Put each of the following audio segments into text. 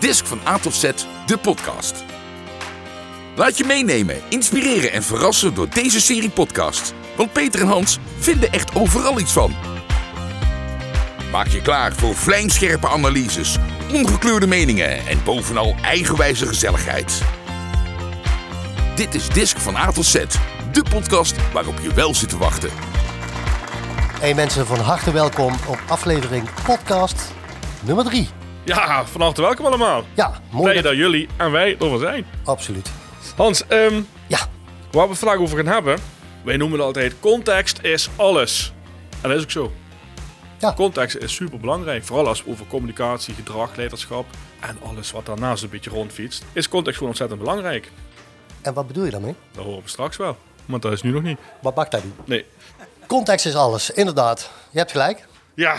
Risk van A tot Z, de podcast. Laat je meenemen, inspireren en verrassen door deze serie podcast. Want Peter en Hans vinden echt overal iets van. Maak je klaar voor vlijmscherpe analyses, ongekleurde meningen en bovenal eigenwijze gezelligheid. Dit is Disk van A tot Z, de podcast waarop je wel zit te wachten. Hey mensen, van harte welkom op aflevering podcast nummer 3. Ja, van harte welkom allemaal. Ja, mooi. Blij dat jullie en wij er zijn. Absoluut. Hans, ehm, Ja, waar we het vandaag over gaan hebben... Wij noemen het altijd context is alles. En dat is ook zo. Ja. Context is super belangrijk. Vooral als we over communicatie, gedrag, leiderschap... en alles wat daarnaast een beetje rondfietst... is context gewoon ontzettend belangrijk. en wat bedoel je daarmee? Dat horen we straks wel. Want dat is nu nog niet. Wat maakt dat nu? Nee. Context is alles, inderdaad. Je hebt gelijk. Ja,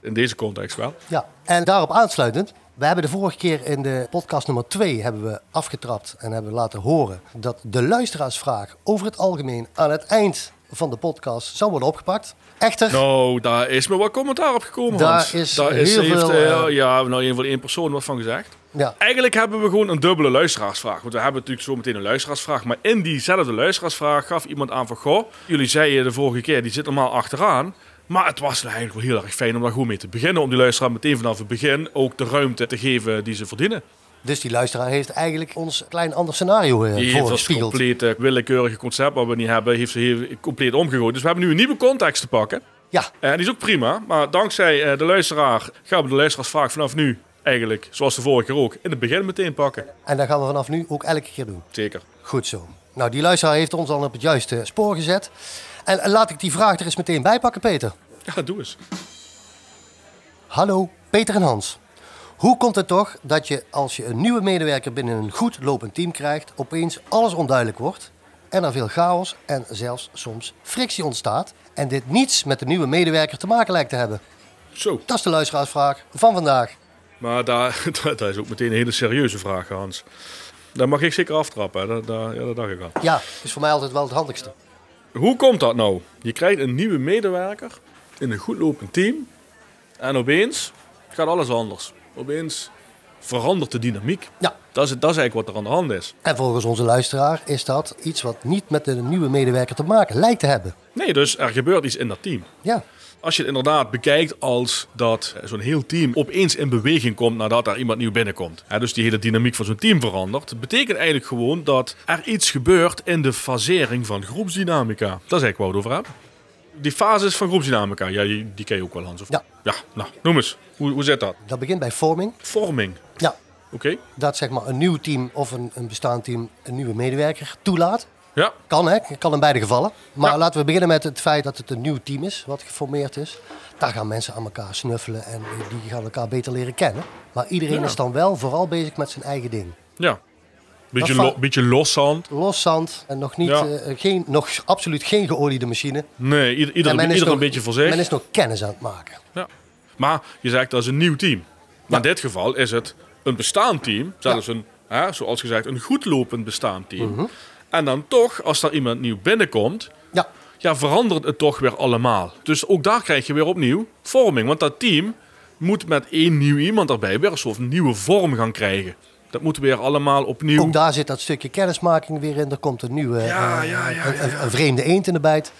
in deze context wel. Ja, en daarop aansluitend. We hebben de vorige keer in de podcast nummer 2 hebben we afgetrapt en hebben laten horen dat de luisteraarsvraag over het algemeen aan het eind van de podcast zou worden opgepakt. Echter, Nou, daar is me wat commentaar op gekomen, Daar Hans. is daar heel heeft, veel, eh, eh, ja, nou, in ieder geval één persoon wat van gezegd. ja, Eigenlijk hebben we gewoon een dubbele luisteraarsvraag. Want we hebben natuurlijk zo meteen een luisteraarsvraag. Maar in diezelfde luisteraarsvraag gaf iemand aan van... Goh, jullie zeiden de vorige keer, die zit normaal achteraan. Maar het was nou eigenlijk wel heel erg fijn om daar goed mee te beginnen. Om die luisteraar meteen vanaf het begin ook de ruimte te geven die ze verdienen. dus die luisteraar heeft eigenlijk ons klein ander scenario eh, Die heeft dat voorgespiegeld. complete willekeurige concept wat we niet hebben... heeft ze heel, compleet omgegooid. Dus we hebben nu een nieuwe context te pakken. Eh, Ja, En die is ook prima. Maar dankzij eh, de luisteraar gaan we de luisteraarsvraag vanaf nu... eigenlijk, zoals de vorige keer ook, in het begin meteen pakken. en dat gaan we vanaf nu ook elke keer doen. Zeker. Goed zo. Nou, die luisteraar heeft ons al op het juiste spoor gezet. En eh, laat ik die vraag er eens meteen bij pakken, Peter. Ja, doe eens. Hallo, Peter en Hans. Hoe komt het toch dat je als je een nieuwe medewerker binnen een goed lopend team krijgt, opeens alles onduidelijk wordt en er veel chaos en zelfs soms frictie ontstaat en dit niets met de nieuwe medewerker te maken lijkt te hebben? Zo. Dat is de luisteraarsvraag van vandaag. Maar daar, dat is ook meteen een hele serieuze vraag, Hans. Daar mag ik zeker aftrappen, hè. Dat, dat- ja, dat dacht ik al. Ja, is voor mij altijd wel het handigste. Hoe komt dat nou? Je krijgt een nieuwe medewerker in een goed lopend team. En opeens gaat alles anders. Opeens verandert de dynamiek. Ja, Dat is, dat is eigenlijk wat er aan de hand is. en volgens onze luisteraar is dat iets wat niet met de nieuwe medewerker te maken lijkt te hebben. Nee, dus er gebeurt iets in dat team. Ja, Als je het inderdaad bekijkt als dat eh, zo'n heel team opeens in beweging komt nadat er iemand nieuw binnenkomt. Hè, dus die hele dynamiek van zo'n team verandert. Dat betekent eigenlijk gewoon dat er iets gebeurt in de fasering van groepsdynamica. Dat is eigenlijk waar we het over hebben. Die fases van groepsdynamica, ja, die, die ken je ook wel, Hans. Of? Ja. Ja, nou, noem eens. Hoe, hoe zit dat? dat begint bij vorming. Vorming. Ja, Oké. dat zeg maar een nieuw team of een, een bestaand team een nieuwe medewerker toelaat. Ja. Kan hè, kan in beide gevallen. Maar Ja. laten we beginnen met het feit dat het een nieuw team is wat geformeerd is. Daar gaan mensen aan elkaar snuffelen en die gaan elkaar beter leren kennen. Maar iedereen Ja. is dan wel vooral bezig met zijn eigen ding. Ja. Beetje, Dat va- lo, beetje loszand. Los zand en nog, niet, Ja. eh, geen, nog absoluut geen geoliede machine. Nee, ieder, ieder, en men is ieder een nog- beetje voor zich. Men is nog kennis aan het maken. Ja. Maar je zegt dat is een nieuw team. Maar in dit geval is het een bestaand team, zelfs een, hè, zoals gezegd, een goed lopend bestaand team. Mhm. En dan toch, als daar iemand nieuw binnenkomt, Ja, ja, verandert het toch weer allemaal. Dus ook daar krijg je weer opnieuw vorming. Want dat team moet met één nieuw iemand erbij weer een soort nieuwe vorm gaan krijgen. Dat moet weer allemaal opnieuw. ook daar zit dat stukje kennismaking weer in. Er komt een nieuwe, Ja, eh, ja, ja, een, een- een vreemde eend in de bijt.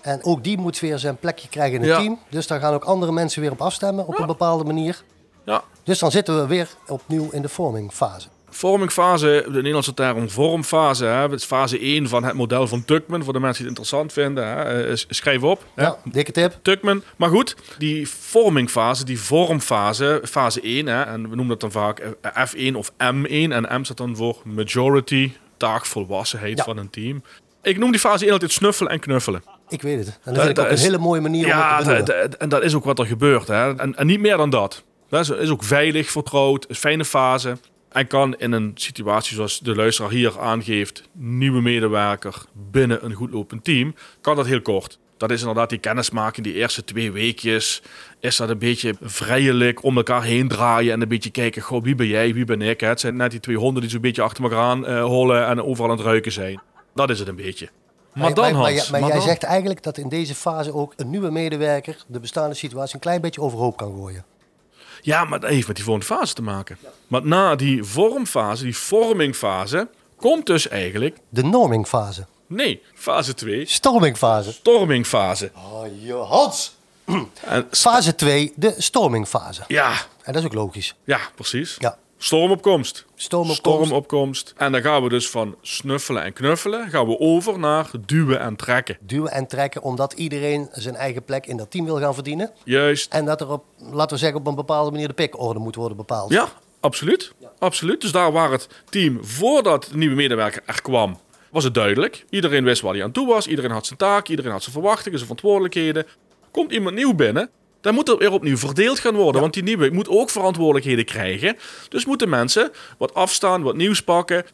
En ook die moet weer zijn plekje krijgen in het Ja. team. Dus daar gaan ook andere mensen weer op afstemmen op Ja. een bepaalde manier. Ja. Dus dan zitten we weer opnieuw in de vormingfase. Vormingfase, de Nederlandse term vormfase. Hè, het is fase 1 van het model van Tuckman. Voor de mensen die het interessant vinden, hè, eh, s- schrijf op. Hè. Ja, Nou, dikke tip. Tuckman. Maar goed, die vormingfase, die vormfase, fase 1, hè, en we noemen dat dan vaak eh, F1 of M1. En M staat dan voor majority, taakvolwassenheid Ja. van een team. Ik noem die fase 1 altijd snuffelen en knuffelen. Ik weet het. En dat Dat- vind ik dat ook een is- hele mooie manier om het Ja, te benoemen. dat- dat- en dat is ook wat er gebeurt. Hè. En, en niet meer dan dat. Dat is, is ook veilig, vertrouwd, is fijne fase. En kan in een situatie zoals de luisteraar hier aangeeft, nieuwe medewerker binnen een goed lopend team, kan dat heel kort. Dat is inderdaad die kennismaking, die eerste twee weekjes. Is dat een beetje vrijelijk om elkaar heen draaien en een beetje kijken, goh, wie ben jij, wie ben ik? Hè? Het zijn net die twee honden die zo'n beetje achter elkaar aan eh, hollen en overal aan het ruiken zijn. Dat is het een beetje. Maar, dan, maar, Hans, jij- maar maar jij dan? zegt eigenlijk dat in deze fase ook een nieuwe medewerker de bestaande situatie een klein beetje overhoop kan gooien. Ja, maar dat heeft met die volgende fase te maken. Want na die vormfase, die vormingfase, komt dus eigenlijk... De normingfase. Nee, fase 2, Stormingfase. stormingfase. Oh, je Hans! En, s- Fase 2, de stormingfase. ja, En dat is ook logisch. ja, precies. Ja. Stormopkomst. Stormopkomst. Stormopkomst. En dan gaan we dus van snuffelen en knuffelen gaan we over naar duwen en trekken. Duwen en trekken omdat iedereen zijn eigen plek in dat team wil gaan verdienen. Juist. En dat er op, laten we zeggen, op een bepaalde manier de pikorde moet worden bepaald. Ja, absoluut. absoluut. Dus daar waar het team voordat de nieuwe medewerker er kwam, was het duidelijk. Iedereen wist waar hij aan toe was. Iedereen had zijn taak. Iedereen had zijn verwachtingen, zijn verantwoordelijkheden. Komt iemand nieuw binnen, dan moet er weer opnieuw verdeeld gaan worden. Want die nieuwe moet ook verantwoordelijkheden krijgen. Dus moeten mensen wat afstaan, wat nieuws pakken.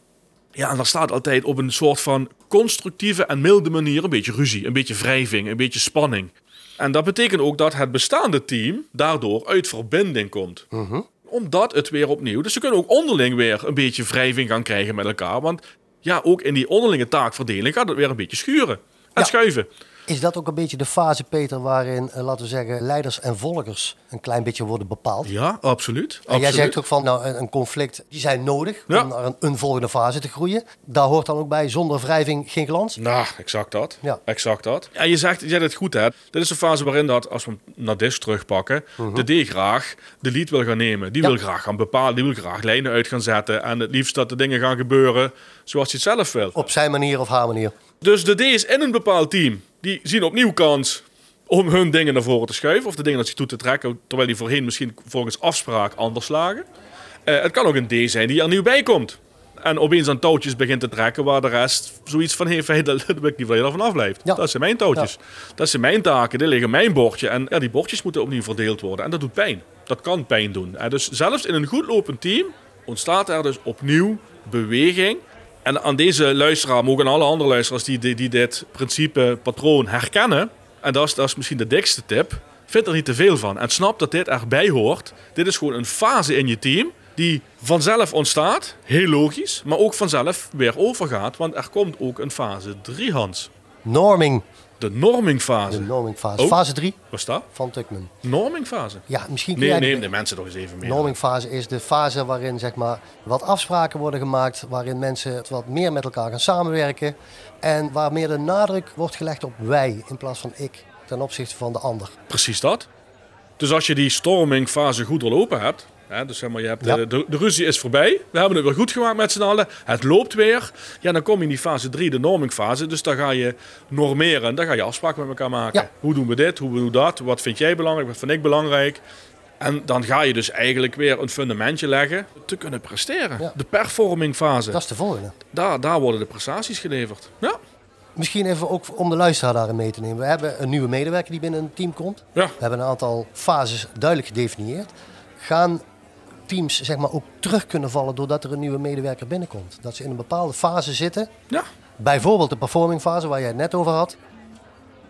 Ja, en daar staat altijd op een soort van constructieve en milde manier een beetje ruzie, een beetje wrijving, een beetje spanning. En dat betekent ook dat het bestaande team daardoor uit verbinding komt omdat het weer opnieuw. Dus ze kunnen ook onderling weer een beetje wrijving gaan krijgen met elkaar. Want ja, ook in die onderlinge taakverdeling gaat het weer een beetje schuren. En Ja. schuiven. Is dat ook een beetje de fase, Peter, waarin, eh, laten we zeggen, leiders en volgers een klein beetje worden bepaald? Ja, absoluut. En absoluut. jij zegt ook van, nou, een een conflict, die zijn nodig Ja. om naar een, een volgende fase te groeien. Daar hoort dan ook bij, zonder wrijving geen glans. Nou, exact dat. Ja. Exact dat. En je zegt, jij het goed hè. Dit is de fase waarin dat, als we hem naar DIS terugpakken, de D graag de lead wil gaan nemen. Die Mhm. Ja. wil graag gaan bepalen, die wil graag lijnen uit gaan zetten. En het liefst dat de dingen gaan gebeuren zoals hij het zelf wil. Op zijn manier of haar manier. Dus de D is in een bepaald team. Die zien opnieuw kans om hun dingen naar voren te schuiven. Of de dingen dat ze toe te trekken. Terwijl die voorheen misschien volgens afspraak anders lagen. Eh, het kan ook een D zijn die er nieuw bij komt. En opeens aan touwtjes begint te trekken waar de rest zoiets van heeft. Hey, dat, dat wil ik niet dat je ervan afblijft. Ja. Dat zijn mijn touwtjes. Dat zijn mijn taken. Dit liggen mijn bordje. En ja, die bordjes moeten opnieuw verdeeld worden. En dat doet pijn. Dat kan pijn doen. Eh, dus zelfs in een goed lopend team ontstaat er dus opnieuw beweging. En aan deze luisteraar, maar ook aan alle andere luisteraars die, die, die dit principe patroon herkennen, en dat is, dat is misschien de dikste tip, vind er niet te veel van. En snap dat dit erbij hoort. Dit is gewoon een fase in je team die vanzelf ontstaat, heel logisch, maar ook vanzelf weer overgaat, want er komt ook een fase 3, Hans. Norming, De normingfase. de normingfase. Oh. Fase 3 Wat is dat? van Tuckman. Normingfase. Ja, misschien kun Nee, jij... neem de mensen toch eens even mee. Normingfase is de fase waarin zeg maar, wat afspraken worden gemaakt, waarin mensen wat meer met elkaar gaan samenwerken en waar meer de nadruk wordt gelegd op wij in plaats van ik ten opzichte van de ander. Precies dat. Dus als je die stormingfase goed doorlopen hebt. Hè, dus zeg maar, je hebt Ja. de, de, de ruzie is voorbij. We hebben het weer goed gemaakt met z'n allen. Het loopt weer. Ja, dan kom je in die fase 3, de normingfase. Dus dan ga je normeren. Dan ga je afspraken met elkaar maken. Ja. Hoe doen we dit? Hoe doen we dat? Wat vind jij belangrijk? Wat vind ik belangrijk? En dan ga je dus eigenlijk weer een fundamentje leggen te kunnen presteren. Ja. De performingfase. Dat is de volgende. Daar, daar worden de prestaties geleverd. Ja, Misschien even ook om de luisteraar daarin mee te nemen. We hebben een nieuwe medewerker die binnen een team komt. ja. We hebben een aantal fases duidelijk gedefinieerd. Gaan teams zeg maar, ook terug kunnen vallen doordat er een nieuwe medewerker binnenkomt? Dat ze in een bepaalde fase zitten. ja. Bijvoorbeeld de performingfase waar jij het net over had.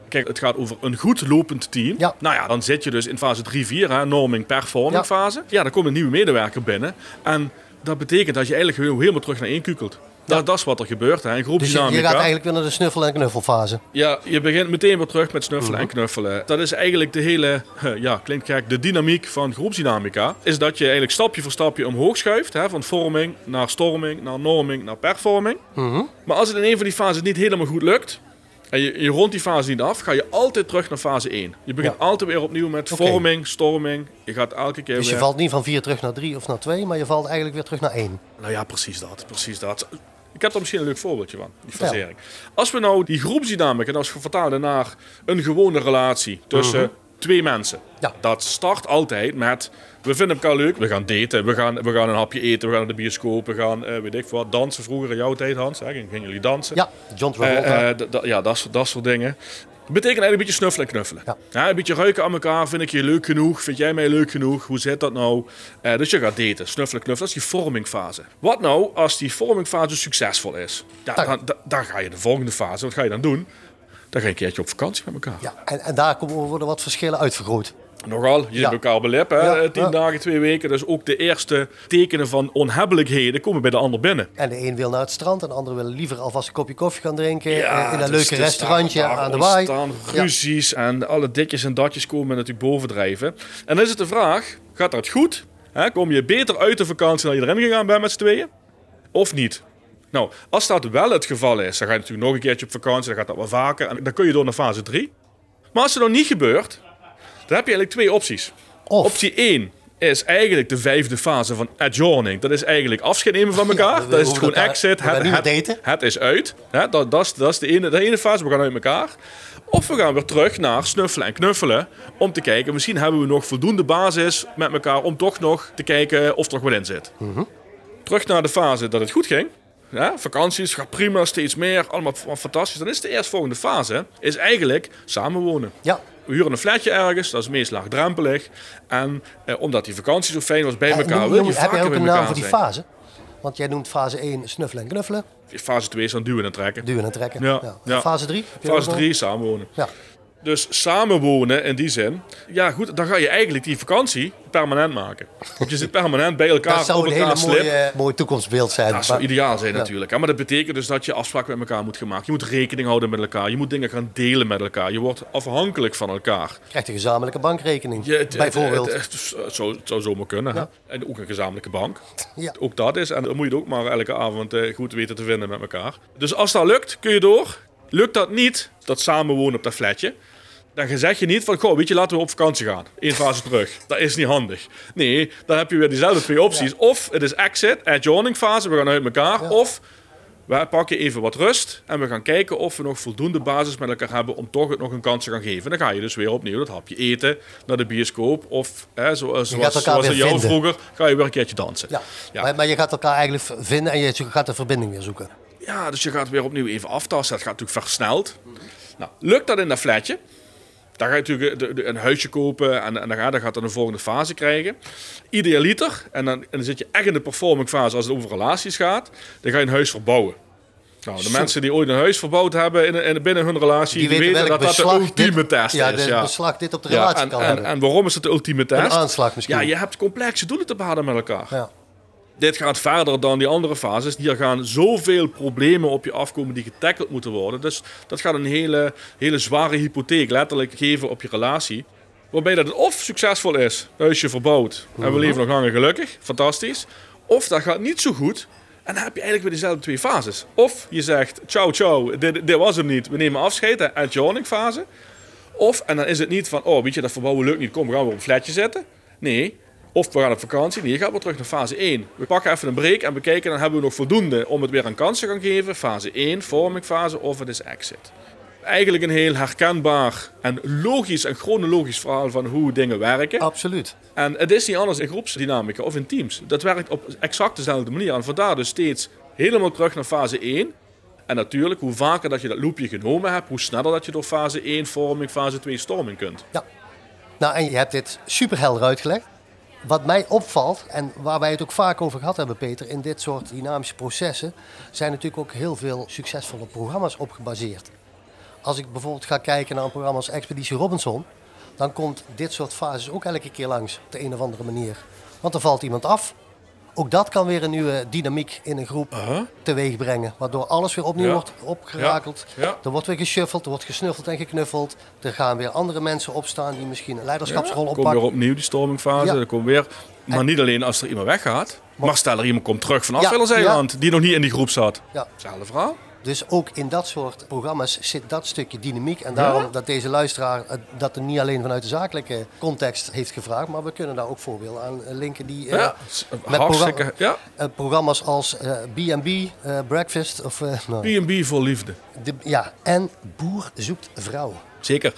Kijk, het gaat over een goed lopend team. Ja. Nou ja, dan zit je dus in fase 3, 4, hè, norming, performing Ja. fase. Ja, dan komt een nieuwe medewerker binnen. En dat betekent dat je eigenlijk heel- helemaal terug naar één kukelt. Dat, dat is wat er gebeurt, hè. een Dus je, je gaat groepsdynamica. eigenlijk weer naar de snuffel- en knuffelfase. Ja, je begint meteen weer terug met snuffelen Mhm. en knuffelen. Dat is eigenlijk de hele, eh, ja, klinkt gek, de dynamiek van groepsdynamica. Is dat je eigenlijk stapje voor stapje omhoog schuift. Hè, van vorming naar storming, naar norming, naar performing. Mhm. Maar als het in een van die fases niet helemaal goed lukt. En je, je rondt die fase niet af, ga je altijd terug naar fase 1. Je begint Ja. altijd weer opnieuw met Oké. vorming, storming. Je gaat elke keer Dus je weer... valt niet van 4 terug naar 3 of naar 2, maar je valt eigenlijk weer terug naar 1. Nou ja, precies dat. Precies dat. Ik heb daar misschien een leuk voorbeeldje van, die fasering. Als we nou die groepsdynamica, dat is vertalen naar een gewone relatie tussen twee mensen. Ja. Dat start altijd met, we vinden elkaar leuk, we gaan daten, we gaan, we gaan een hapje eten, we gaan naar de bioscoop, we gaan, eh, weet ik veel wat, dansen vroeger in jouw tijd Hans. Hè? Gingen gingen jullie dansen? Ja, John Eh, Travolta. eh, d- d- ja, dat, soort- dat soort dingen. Dat betekent eigenlijk een beetje snuffelen en knuffelen. Ja. een beetje ruiken aan elkaar. Vind ik je leuk genoeg? Vind jij mij leuk genoeg? Hoe zit dat nou? Eh, dus je gaat daten, snuffelen, knuffelen. Dat is die vormingfase. Wat nou als die vormingfase succesvol is? Ja, Dank. dan, dan, dan ga je de volgende fase. Wat ga je dan doen? Dan ga je een keertje op vakantie met elkaar. ja, en, en daar komen- worden wat verschillen uitvergroot. Nogal, je Ja. hebt elkaar belept, hè? Ja, eh, Tien ja. dagen, twee weken. Dus ook de eerste tekenen van onhebbelijkheden komen bij de ander binnen. En de een wil naar het strand, en de ander wil liever alvast een kopje koffie gaan drinken. eh, in het een is- leuke het is restaurantje daar aan de waai. ontstaan Ja. Ruzies en alle ditjes en datjes komen natuurlijk bovendrijven. En dan is het de vraag: gaat dat goed? Hè, kom je beter uit de vakantie dan je erin gegaan bent met z'n tweeën? Of niet? Nou, als dat wel het geval is, dan ga je natuurlijk nog een keertje op vakantie, dan gaat dat wel vaker en dan kun je door naar fase 3. Maar als het nog niet gebeurt, dan heb je eigenlijk twee opties. Of, Optie 1 is eigenlijk de vijfde fase van adjourning. Dat is eigenlijk afscheid nemen van elkaar. we dat is het hoeven gewoon elkaar- exit. we gaan Het, niet het, meer daten. het is uit. Hè, dat, dat is, dat is de, ene, de ene fase. We gaan uit elkaar. Of we gaan weer terug naar snuffelen en knuffelen. Om te kijken, misschien hebben we nog voldoende basis met elkaar. Om toch nog te kijken of er nog wat in zit. Mhm. Terug naar de fase dat het goed ging. Ja, vakanties, gaat prima, steeds meer. Allemaal f- fantastisch. Dan is de eerstvolgende fase is eigenlijk samenwonen. ja, We huren een flatje ergens, dat is meest laagdrempelig. En eh, omdat die vakantie zo fijn was bij En elkaar, noem- wil noem- je heb jij vaker ook bij een naam elkaar voor die zijn. fase? Want jij noemt fase 1 snuffelen en knuffelen, Fase 2 is dan duwen en trekken. duwen en trekken. Ja, En ja. Fase 3? Fase 3 is samenwonen. Ja. Dus samenwonen in die zin, ja goed, dan ga je eigenlijk die vakantie permanent maken. Want je zit permanent bij elkaar, Dat zou op een elkaar hele slip. mooie, eh, mooie toekomstbeeld zijn. Dat zou Maar- ideaal zijn natuurlijk. hè. Maar dat betekent dus dat je afspraken met elkaar moet gemaakt. Je moet rekening houden met elkaar. Je moet dingen gaan delen met elkaar. Je wordt afhankelijk van elkaar. krijgt een gezamenlijke bankrekening, Ja, het- bijvoorbeeld. het- het- het zou, het zou zomaar kunnen. Hè? En ook een gezamenlijke bank. Ja. Ook dat is. En dan moet je het ook maar elke avond eh, goed weten te vinden met elkaar. Dus als dat lukt, kun je door. Lukt dat niet, dat samenwonen op dat flatje. Dan zeg je niet van, goh, weet je, laten we op vakantie gaan. Eén fase terug. Dat is niet handig. Nee, dan heb je weer diezelfde twee opties. Of het is exit, adjourning fase, we gaan uit elkaar. Of we pakken even wat rust en we gaan kijken of we nog voldoende basis met elkaar hebben om toch het nog een kans te gaan geven. Dan ga je dus weer opnieuw dat hapje eten, naar de bioscoop of hè, zo- zoals, elkaar zoals, weer in jou vinden. vroeger, ga je weer een keertje dansen. ja. Ja. Maar, maar je gaat elkaar eigenlijk v- vinden en je gaat de verbinding weer zoeken. Ja, dus je gaat weer opnieuw even aftasten. Dat gaat natuurlijk versneld. Nou, lukt dat in dat flatje? Dan ga je natuurlijk eh, de- de- een huisje kopen en, en dan, ga, dan gaat dat een volgende fase krijgen. Idealiter, en dan, en dan zit je echt in de performing fase als het over relaties gaat, dan ga je een huis verbouwen. Nou, de mensen die ooit een huis verbouwd hebben in, in, binnen hun relatie, Die die, weten weten welk dat dat de beslag dit- ultieme test ja, is. de- ja. beslag dit op de Ja, relatie en, kan en, hebben. en waarom is het de ultieme test? aanslag misschien. Ja, je hebt complexe doelen te behalen met elkaar. ja. Dit gaat verder dan die andere fases. Hier gaan zoveel problemen op je afkomen die getackled moeten worden. Dus dat gaat een hele, hele zware hypotheek letterlijk geven op je relatie. Waarbij dat het of succesvol is, het huisje verbouwd en we leven nog langer gelukkig, fantastisch. Of dat gaat niet zo goed en dan heb je eigenlijk weer dezelfde twee fases. Of je zegt, ciao ciao, dit, dit was hem niet, we nemen afscheid, hè, adjourning fase. Of, en dan is het niet van, oh weet je, dat verbouwen lukt niet, kom, we gaan weer op een flatje zetten. Nee, of we gaan op vakantie. Nee, je gaat weer terug naar fase 1. We pakken even een break en bekijken, dan hebben we nog voldoende om het weer een kans te gaan geven. Fase 1, vormingfase of het is exit. Eigenlijk een heel herkenbaar en logisch en chronologisch verhaal van hoe dingen werken. Absoluut. En het is niet anders in groepsdynamica of in teams. Dat werkt op exact dezelfde manier. En vandaar dus steeds helemaal terug naar fase 1. En natuurlijk, hoe vaker dat je dat loopje genomen hebt, hoe sneller dat je door fase 1 vorming, fase 2 storming kunt. Ja. Nou, en je hebt dit super helder uitgelegd. Wat mij opvalt, en waar wij het ook vaak over gehad hebben, Peter, in dit soort dynamische processen, zijn natuurlijk ook heel veel succesvolle programma's op gebaseerd. Als ik bijvoorbeeld ga kijken naar een programma als Expeditie Robinson, dan komt dit soort fases ook elke keer langs, op de een of andere manier. Want er valt iemand af. Ook dat kan weer een nieuwe dynamiek in een groep teweeg brengen, waardoor alles weer opnieuw Uh-huh. Ja. wordt opgerakeld. Ja. Ja. Er wordt weer geshuffeld, er wordt gesnuffeld en geknuffeld. Er gaan weer andere mensen opstaan die misschien een leiderschapsrol Dan Kom oppakken. weer opnieuw die stormingfase. Ja. Dan kom weer. Maar niet alleen als er iemand weggaat. Maar stel er iemand komt terug van afwillerseiland die nog niet in die groep zat. Ja. Hetzelfde verhaal. Dus ook in dat soort programma's zit dat stukje dynamiek. En daarom dat deze luisteraar eh, dat er niet alleen vanuit de zakelijke context heeft gevraagd. Maar we kunnen daar ook voorbeelden aan eh, linken die eh, Ja, hartstikke- ja. eh, programma's als eh, B&B, eh, Breakfast of... eh, nou, B&B voor liefde. de- ja, en Boer zoekt vrouw. Zeker.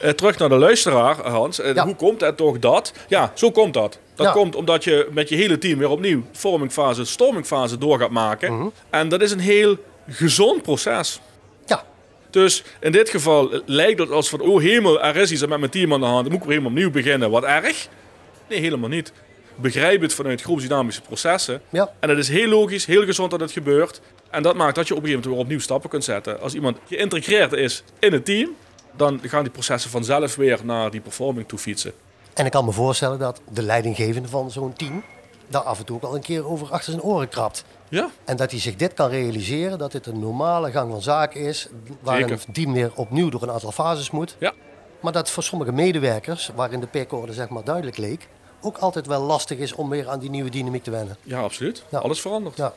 Eh, terug naar de luisteraar, Hans. Eh, Ja. Hoe komt het toch dat? Ja, zo komt dat. Dat Ja. komt omdat je met je hele team weer opnieuw vormingfase, stormingfase door gaat maken. Mhm. En dat is een heel gezond proces. Ja, Dus in dit geval eh, lijkt het als van, oh hemel, er is iets met mijn team aan de hand. Dan moet ik weer helemaal opnieuw beginnen. Wat erg? Nee, helemaal niet. Begrijp het vanuit groepsdynamische processen. Ja. En het is heel logisch, heel gezond dat het gebeurt. En dat maakt dat je op een gegeven moment weer opnieuw stappen kunt zetten. Als iemand geïntegreerd is in het team, dan gaan die processen vanzelf weer naar die performing toe fietsen. En ik kan me voorstellen dat de leidinggevende van zo'n team daar af en toe ook al een keer over achter zijn oren krabt. Ja, En dat hij zich dit kan realiseren, dat dit een normale gang van zaken is, waarin Zeker. die meneer opnieuw door een aantal fases moet. ja. Maar dat voor sommige medewerkers, waarin de pekorde zeg maar duidelijk leek, ook altijd wel lastig is om weer aan die nieuwe dynamiek te wennen. ja absoluut. Ja. Alles verandert. Ja.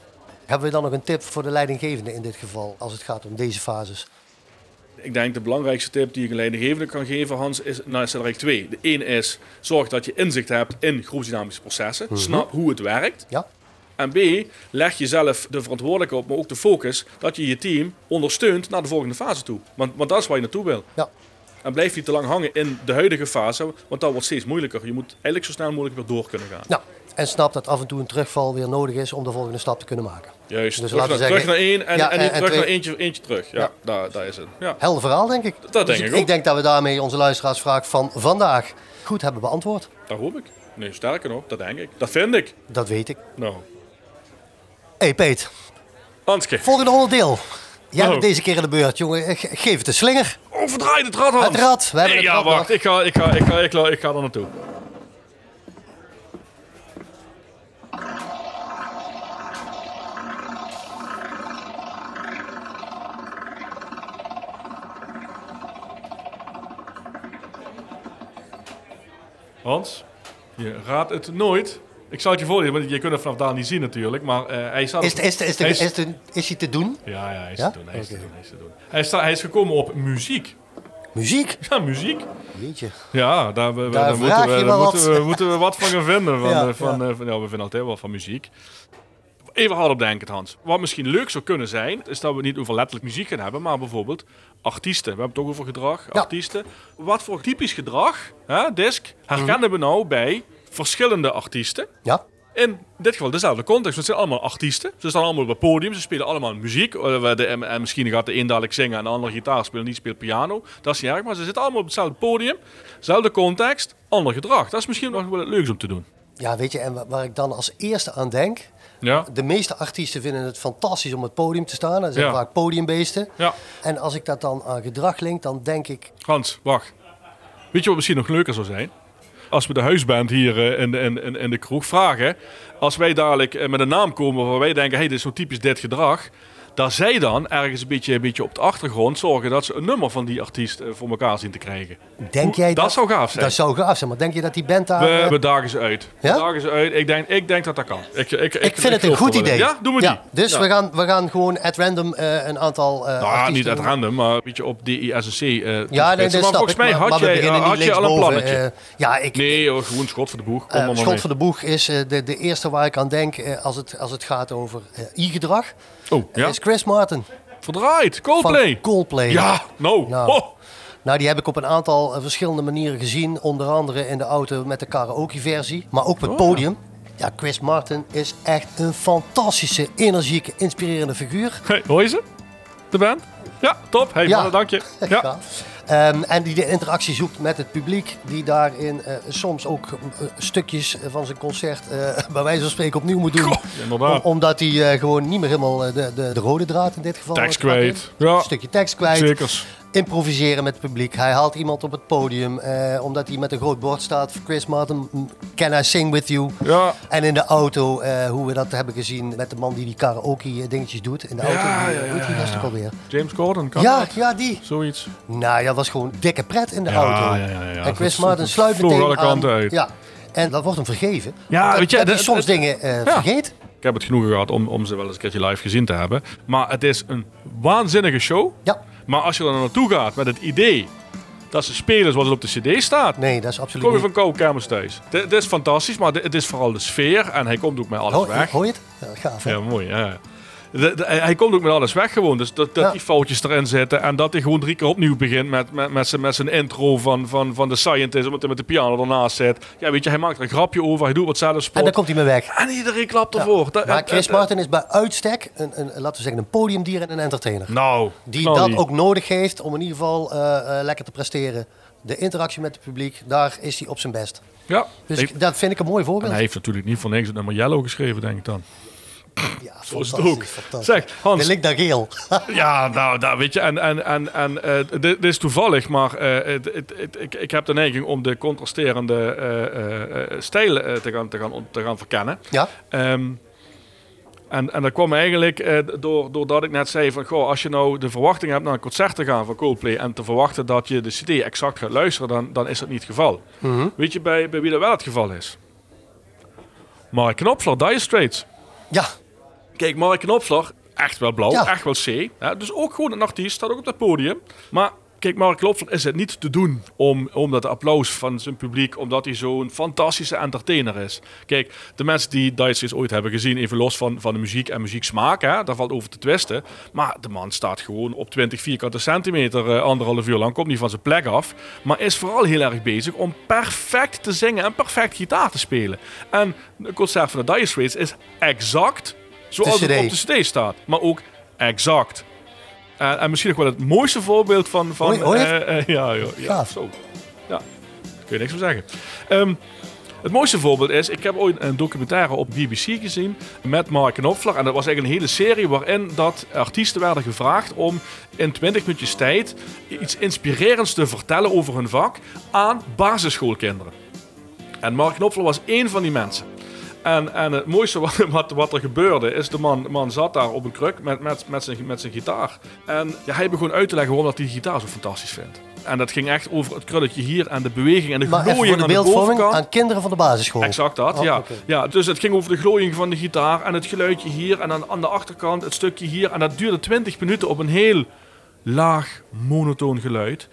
Hebben we dan nog een tip voor de leidinggevende in dit geval, als het gaat om deze fases? Ik denk de belangrijkste tip die ik een leidinggevende kan geven, Hans, is, nou, is er eigenlijk twee. De één is, zorg dat je inzicht hebt in groepsdynamische processen. Mhm. Snap hoe het werkt. Ja? En B, leg jezelf de verantwoordelijkheid op, maar ook de focus dat je je team ondersteunt naar de volgende fase toe. Want, want dat is waar je naartoe wil. Ja. En blijf niet te lang hangen in de huidige fase, want dat wordt steeds moeilijker. Je moet eigenlijk zo snel mogelijk weer door kunnen gaan. Nou, en snap dat af en toe een terugval weer nodig is om de volgende stap te kunnen maken. Juist, Dus terug, laten naar, we terug zeggen- naar één en, Ja, eh, en, en- niet en terug twee. naar eentje, eentje terug. Ja, Daar, daar is het. Ja. Helder verhaal, denk ik. denk Dus ik ik, ook. ik denk dat we daarmee onze luisteraarsvraag van vandaag goed hebben beantwoord. Dat hoop ik. Nee, sterker nog, dat denk ik. Dat vind ik. Dat weet ik. Nou, hey Peet, Hanske. volgende onderdeel. Jij Oh. bent deze keer in de beurt, jongen. Ge- Geef het de slinger. Overdraai het rad, Hans. Het rad, we hebben Nee, het ja, rad wacht. nog. Ik ga, ik, ga, ik, ga, ik, ga, ik ga er naartoe. Hans, je raadt het nooit. Ik zal het je voorlezen, want je kunt het vanaf daar niet zien natuurlijk. Maar eh, hij staat... Is, op- de- is, de- is, de- hij is, de- is hij te doen? Ja, ja, hij is Ja? te doen. Hij is, Oké. te doen, hij is te doen. Hij, sta- hij is gekomen op muziek. Muziek? Ja, muziek. Weet je. Ja, daar, we- we- Daar daar vraag moeten, we, je daar wel moeten, wat. we, moeten we wat van gaan vinden. Van, Ja, eh, van, ja. eh, van, ja, we vinden altijd wel van muziek. Even hardop denken, Hans. Wat misschien leuk zou kunnen zijn, is dat we het niet over letterlijk muziek gaan hebben, maar bijvoorbeeld artiesten. We hebben het ook over gedrag, Ja. artiesten. Wat voor typisch gedrag, hè, Disc, Mhm. herkennen we nou bij verschillende artiesten? Ja? In dit geval dezelfde context, want het zijn allemaal artiesten. Ze staan allemaal op het podium, ze spelen allemaal muziek. Eh, we- de- en, en misschien gaat de een dadelijk zingen en de ander gitaar spelen, die speelt piano. Dat is niet erg, maar ze zitten allemaal op hetzelfde podium. Zelfde context, ander gedrag. Dat is misschien nog wel het leuks om te doen. Ja, weet je, en wa- waar ik dan als eerste aan denk... Ja, De meeste artiesten vinden het fantastisch om op het podium te staan. Dat zijn Ja. vaak podiumbeesten. Ja. En als ik dat dan aan gedrag link, dan denk ik... Hans, wacht. Weet je wat misschien nog leuker zou zijn? Als we de huisband hier eh, in, de- in, in, in de kroeg vragen, als wij dadelijk eh, met een naam komen waar wij denken, hé, hey, dit is zo typisch dit gedrag. Dat zij dan ergens een beetje, een beetje op de achtergrond zorgen dat ze een nummer van die artiest eh, voor elkaar zien te krijgen. Denk jij dat zou gaaf zijn. Dat zou gaaf zijn, maar denk je dat die band daar... We, eh, we dagen ze uit. Ja? We dagen ze uit. Ik denk, ik denk dat dat kan. Ik, ik, ik, ik vind het een geloof goed er wel in. idee. Ja, doen we Ja, die. Dus Ja. we, gaan, we gaan gewoon at random eh, een aantal eh Nou, artiesten niet uit doen. random, maar een beetje op DISNC. eh Ja, toespitsen. nee, dat maar snap volgens ik. mij maar- had, maar we jij, eh, beginnen had niet je al een linksboven. plannetje. Eh, ja, ik, nee, hoor, gewoon schot voor de boeg. Kom Eh, maar maar schot mee. van de boeg is eh, de, de eerste waar ik aan denk eh, als, het, als het gaat over eh I-gedrag. Oh, ja? is Chris Martin Verdraaid. van Coldplay. Coldplay. Ja, nou. Nou. Oh. Nou, die heb ik op een aantal eh, verschillende manieren gezien. Onder andere in de auto met de karaoke-versie, maar ook op Oh. het podium. Ja, Chris Martin is echt een fantastische, energieke, inspirerende figuur. Hey, hoor je ze? De band? Ja, top. Hey, Ja. mannen, dank je. Ja. Gaaf. Ehm, en die de interactie zoekt met het publiek, die daarin eh, soms ook eh, stukjes van zijn concert eh, bij wijze van spreken opnieuw moet doen. Goh, Oh, inderdaad. Om- omdat hij eh, gewoon niet meer helemaal eh, de, de, de rode draad in dit geval. Tekst eh, kwijt kwijt. is. Ja. Een stukje tekst kwijt. Zekers. Improviseren met het publiek. Hij haalt iemand op het podium, eh, omdat hij met een groot bord staat. Chris Martin, mm, can I sing with you? Ja. En in de auto, eh, hoe we dat hebben gezien met de man die die karaoke eh, dingetjes doet. In de auto, ja, Hoe- ja, hoe heet die gast ook alweer? James Gordon, kan Ja, dat? ja, die. Zoiets. Nou ja, dat was gewoon dikke pret in de Ja, auto. ja, ja, ja. En Chris Dat Martin sluit vloog meteen alle aan. kanten uit. Ja. En dat wordt hem vergeven. Ja, dat, weet je, dat hij dat- soms dat- dingen eh, Ja. vergeet. Ik heb het genoegen gehad om, om ze wel eens een keertje live gezien te hebben. Maar het is een waanzinnige show. Ja. Maar als je er dan naartoe gaat met het idee dat ze spelen zoals het op de cd staat... Nee, dat is absoluut Kom je niet. van koude kamers thuis. D- Het is fantastisch, maar d- het is vooral de sfeer. En hij komt ook met alles Hoor, weg. hoor je het? Ja, gaaf, hè? Ja, mooi. Ja. ja. De- de- hij hij komt ook met alles weg gewoon. Dus dat, dat Ja. die foutjes erin zitten. En dat hij gewoon drie keer opnieuw begint met, met, met, zijn, met zijn intro van, van, van The Scientist. Omdat hij met de piano ernaast zit. Ja, weet je, hij maakt er een grapje over. Hij doet wat En zelfspot. dan En, komt hij me weg. iedereen klapt ervoor. Dat- Maar en- Chris en- Martin is bij uitstek, een, een, laten we zeggen, een podiumdier en een entertainer. Nou. Die nou, dat ook nodig heeft om in ieder geval eh, eh, lekker te presteren. De interactie met het publiek, daar is hij op zijn best. Ja. Dus Heeft- ik- dat vind ik een mooi en voorbeeld. hij heeft natuurlijk niet voor niks het nummer Yellow geschreven, denk ik dan. Ja, Zo is het fantastisch, ook. fantastisch. Zeg, Hans. De link naar geel. Ja, nou, daar weet je. En, en, en, en eh, dit, dit is toevallig, maar eh, het- het- het- ik, ik heb de neiging om de contrasterende eh, eh, eh, stijlen eh, te, gaan, te, gaan, te gaan verkennen. ja, Ehm, en, en dat kwam eigenlijk eh, door, doordat ik net zei van, goh, als je nou de verwachting hebt naar een concert te gaan van Coldplay en te verwachten dat je de CD exact gaat luisteren, dan, dan is dat niet het geval. Weet je bij, bij wie dat wel het geval is? Mark Knopfler, Dire Straits. ja, Kijk, Mark Knopfler, echt wel blauw, Ja. echt wel C. Ja, dus ook gewoon een artiest, staat ook op dat podium. Maar kijk, Mark Knopfler is het niet te doen om, om dat applaus van zijn publiek, omdat hij zo'n fantastische entertainer is. Kijk, de mensen die Dire Straits ooit hebben gezien, even los van, van de muziek en muzieksmaak, hè, daar valt over te twisten. Maar de man staat gewoon op 20 vierkante centimeter, eh, anderhalf uur lang, komt niet van zijn plek af. Maar is vooral heel erg bezig om perfect te zingen en perfect gitaar te spelen. En een concert van de Dire Straits is exact Zoals De het op CD. de CD staat, maar ook exact. Eh, En, en misschien ook wel het mooiste voorbeeld van. van Hoor je- hoor je het? eh, eh, ja, joh, ja, Gaaf. zo. Ja, daar kun je niks van zeggen. Ehm, het mooiste voorbeeld is, ik heb ooit een documentaire op BBC gezien met Mark Knopfler. En dat was eigenlijk een hele serie waarin dat artiesten werden gevraagd om in 20 minuutjes tijd iets inspirerends te vertellen over hun vak aan basisschoolkinderen. En Mark Knopfler was één van die mensen. En, en het mooiste wat, wat, wat er gebeurde is, de man, man zat daar op een kruk met, met, met, zijn, met zijn gitaar. En ja, hij begon uit te leggen waarom dat hij die gitaar zo fantastisch vindt. En dat ging echt over het krulletje hier en de beweging en de maar even voor glooiing de aan de beeldvorming bovenkant. aan kinderen van de basisschool. Exact dat, Oh, ja. oké. ja. Dus het ging over de glooiing van de gitaar en het geluidje hier en aan, aan de achterkant het stukje hier. En dat duurde 20 minuten op een heel laag, monotoon geluid.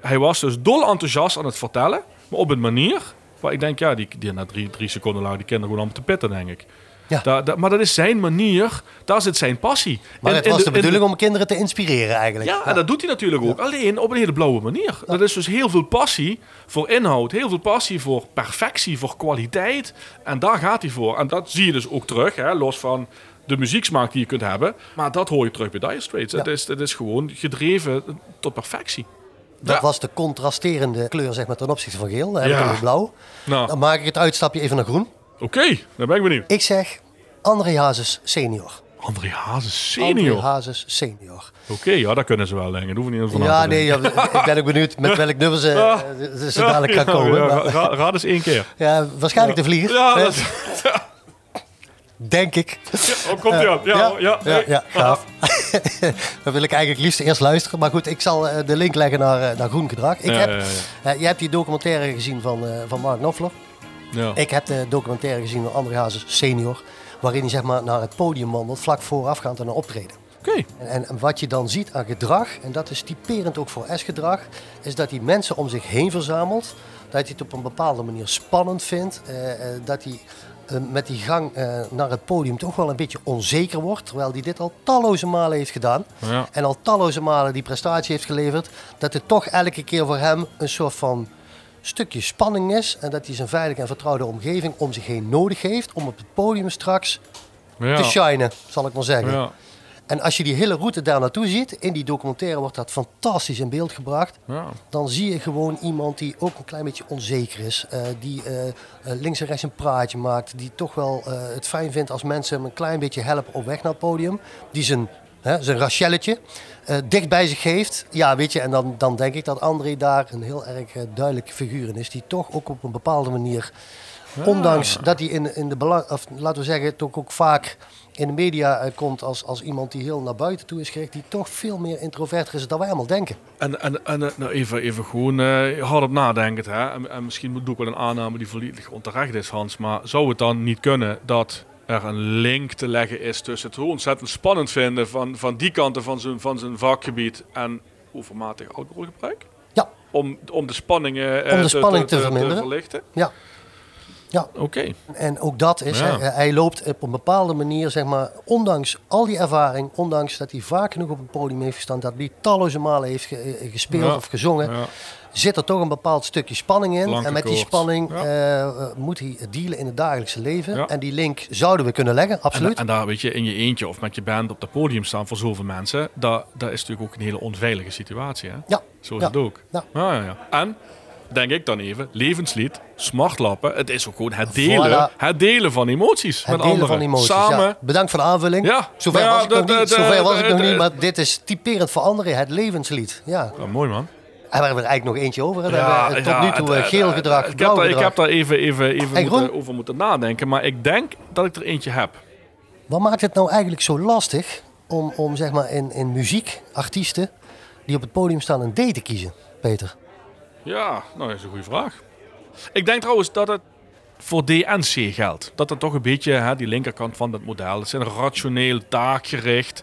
Hij was dus dol enthousiast aan het vertellen, maar op een manier waar ik denk, ja, die, die na drie, drie seconden lagen die kinderen gewoon allemaal te pitten, denk ik. Ja. Daar- daar- maar dat is zijn manier, daar zit zijn passie. Maar In- het in was de, in bedoeling om kinderen te inspireren eigenlijk. ja, en dat doet hij natuurlijk ook. Alleen op een hele blauwe manier. Dat is dus heel veel passie voor inhoud. Heel veel passie voor perfectie, voor kwaliteit. En daar gaat hij voor. En dat zie je dus ook terug, hè, los van de muzieksmaak die je kunt hebben. Maar dat hoor je terug bij Dire Straits. Het, is, het is gewoon gedreven tot perfectie. Dat Ja. was de contrasterende kleur zeg maar, ten opzichte van geel. Dan heb Ja. ik nu blauw. Nou, Dan maak ik het uitstapje even naar groen. oké. Dan ben ik benieuwd. Ik zeg André Hazes senior. André Hazes André senior. Hazes senior. Oké, ja, dat kunnen ze wel denken. Daar hoeven we niet van Ja, nee, ja, ik ben ook benieuwd met welk nummer ze, Ja. ze, ze dadelijk gaan komen. maar- Ja, raad eens één keer. waarschijnlijk de vlieger. Ja, hè, dat, Denk ik. oh, komt ie aan. Ja, ja, ja, ja, nee. gaaf. dat wil ik eigenlijk liefst eerst luisteren. Maar goed, ik zal eh, de link leggen naar, eh, naar Groen Gedrag. Ik Ja, heb, ja, ja. eh, je hebt die documentaire gezien van, eh, van Mark Knopfler. Ja. Ik heb de documentaire gezien van André Hazes senior. Waarin hij zeg maar, naar het podium wandelt, vlak voorafgaand aan een optreden. Oké. En, en wat je dan ziet aan gedrag, en dat is typerend ook voor S-gedrag, is dat hij mensen om zich heen verzamelt. Dat hij het op een bepaalde manier spannend vindt. eh, eh, dat hij eh, met die gang eh, naar het podium toch wel een beetje onzeker wordt. Terwijl hij dit al talloze malen heeft gedaan. Ja. En al talloze malen die prestatie heeft geleverd. Dat het toch elke keer voor hem een soort van stukje spanning is. En dat hij zijn veilige en vertrouwde omgeving om zich heen nodig heeft. Om op het podium straks Ja. te shinen, zal ik maar zeggen. Ja. En als je die hele route daar naartoe ziet, in die documentaire wordt dat fantastisch in beeld gebracht. Ja. Dan zie je gewoon iemand die ook een klein beetje onzeker is. eh, die eh, eh, links en rechts een praatje maakt. Die toch wel eh, het fijn vindt als mensen hem een klein beetje helpen op weg naar het podium. Die zijn, hè, zijn rachelletje eh, dicht bij zich heeft. Ja, weet je, en dan, dan denk ik dat André daar een heel erg eh, duidelijke figuur in is. Die toch ook op een bepaalde manier Ondanks dat hij in, in de belang, of laten we zeggen, toch ook vaak in de media eh, komt als, als iemand die heel naar buiten toe is gericht, die toch veel meer introverter is dan wij allemaal denken. En, en, en eh, nou even, even gewoon eh, hardop nadenken. Hè? En, en misschien doe ik wel een aanname die volledig onterecht is, Hans. Maar zou het dan niet kunnen dat er een link te leggen is tussen het zo ontzettend spannend vinden van, van die kanten van zijn, van zijn vakgebied en overmatig alcoholgebruik? Ja, Om, om de spanningen eh, Om de spanning te verminderen. verlichten? ja. Ja, Oké. en ook dat is, Ja. hij, hij loopt op een bepaalde manier, zeg maar, ondanks al die ervaring, ondanks dat hij vaak genoeg op een podium heeft gestaan, dat hij talloze malen heeft ge- eh, gespeeld Ja. of gezongen, Ja. zit er toch een bepaald stukje spanning in. Blanke en met die koord. spanning Ja. eh, eh, moet hij dealen in het dagelijkse leven. Ja. En die link zouden we kunnen leggen, En, absoluut. en daar weet je, in je eentje of met je band op dat podium staan voor zoveel mensen, dat, dat is natuurlijk ook een hele onveilige situatie. Hè? Ja. Zo is Ja. het ook. Ja. Ja, ja, ja. En denk ik dan even, levenslied, smartlappen. Het is ook gewoon het delen, Voilà. het delen van emoties Het met delen anderen. van emoties. Samen. ja. Bedankt voor de aanvulling. Ja. Zover Nou ja, was ik dat- nog niet, dat- zover was ik dat- nog niet dat- maar dit is typerend voor anderen. Het levenslied. Ja. Ja, mooi man. En we hebben er eigenlijk nog eentje over. hè. Daar hebben we tot ja, nu toe het- eh, geel het- gedrag, Ik heb, blauw daar, ik gedrag. heb daar even, even, even En moeten- groen? over moeten nadenken, maar ik denk dat ik er eentje heb. Wat maakt het nou eigenlijk zo lastig om, om zeg maar in, in muziek artiesten die op het podium staan een D te kiezen, Peter? Ja, nou dat is een goede vraag. Ik denk trouwens dat het voor D en C geldt. Dat het toch een beetje hè, die linkerkant van dat model. Het zijn rationeel, taakgericht.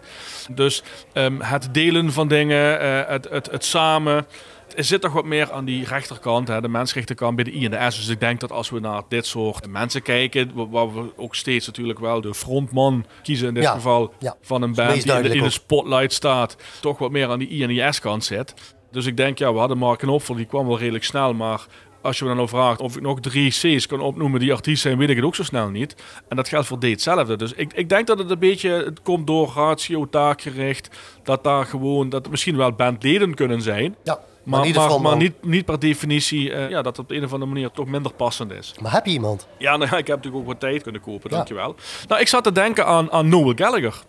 Dus ehm, het delen van dingen, eh, het, het, het samen. Er zit toch wat meer aan die rechterkant, hè, de mensrechterkant bij de I en de S. Dus ik denk dat als we naar dit soort mensen kijken, wa- waar we ook steeds natuurlijk wel de frontman kiezen in dit Ja, geval ja. van een Meest band die in de, duidelijk in de ook. spotlight staat, toch wat meer aan die I en die S kant zit. Dus ik denk, ja, we hadden Mark Knopfel, die kwam wel redelijk snel, maar als je me dan nou vraagt of ik nog drie C's kan opnoemen die artiest zijn, weet ik het ook zo snel niet. En dat geldt voor D hetzelfde. Dus ik, ik denk dat het een beetje, het komt door ratio, taakgericht, dat daar gewoon, dat het misschien wel bandleden kunnen zijn. Ja, Maar, maar, niet de maar, frontman. niet, niet per definitie eh, ja, dat het op de een of andere manier toch minder passend is. Maar heb je iemand? Ja, nou, ja, ik heb natuurlijk ook wat tijd kunnen kopen, Ja. dankjewel. Nou, ik zat te denken aan, aan Noel Gallagher.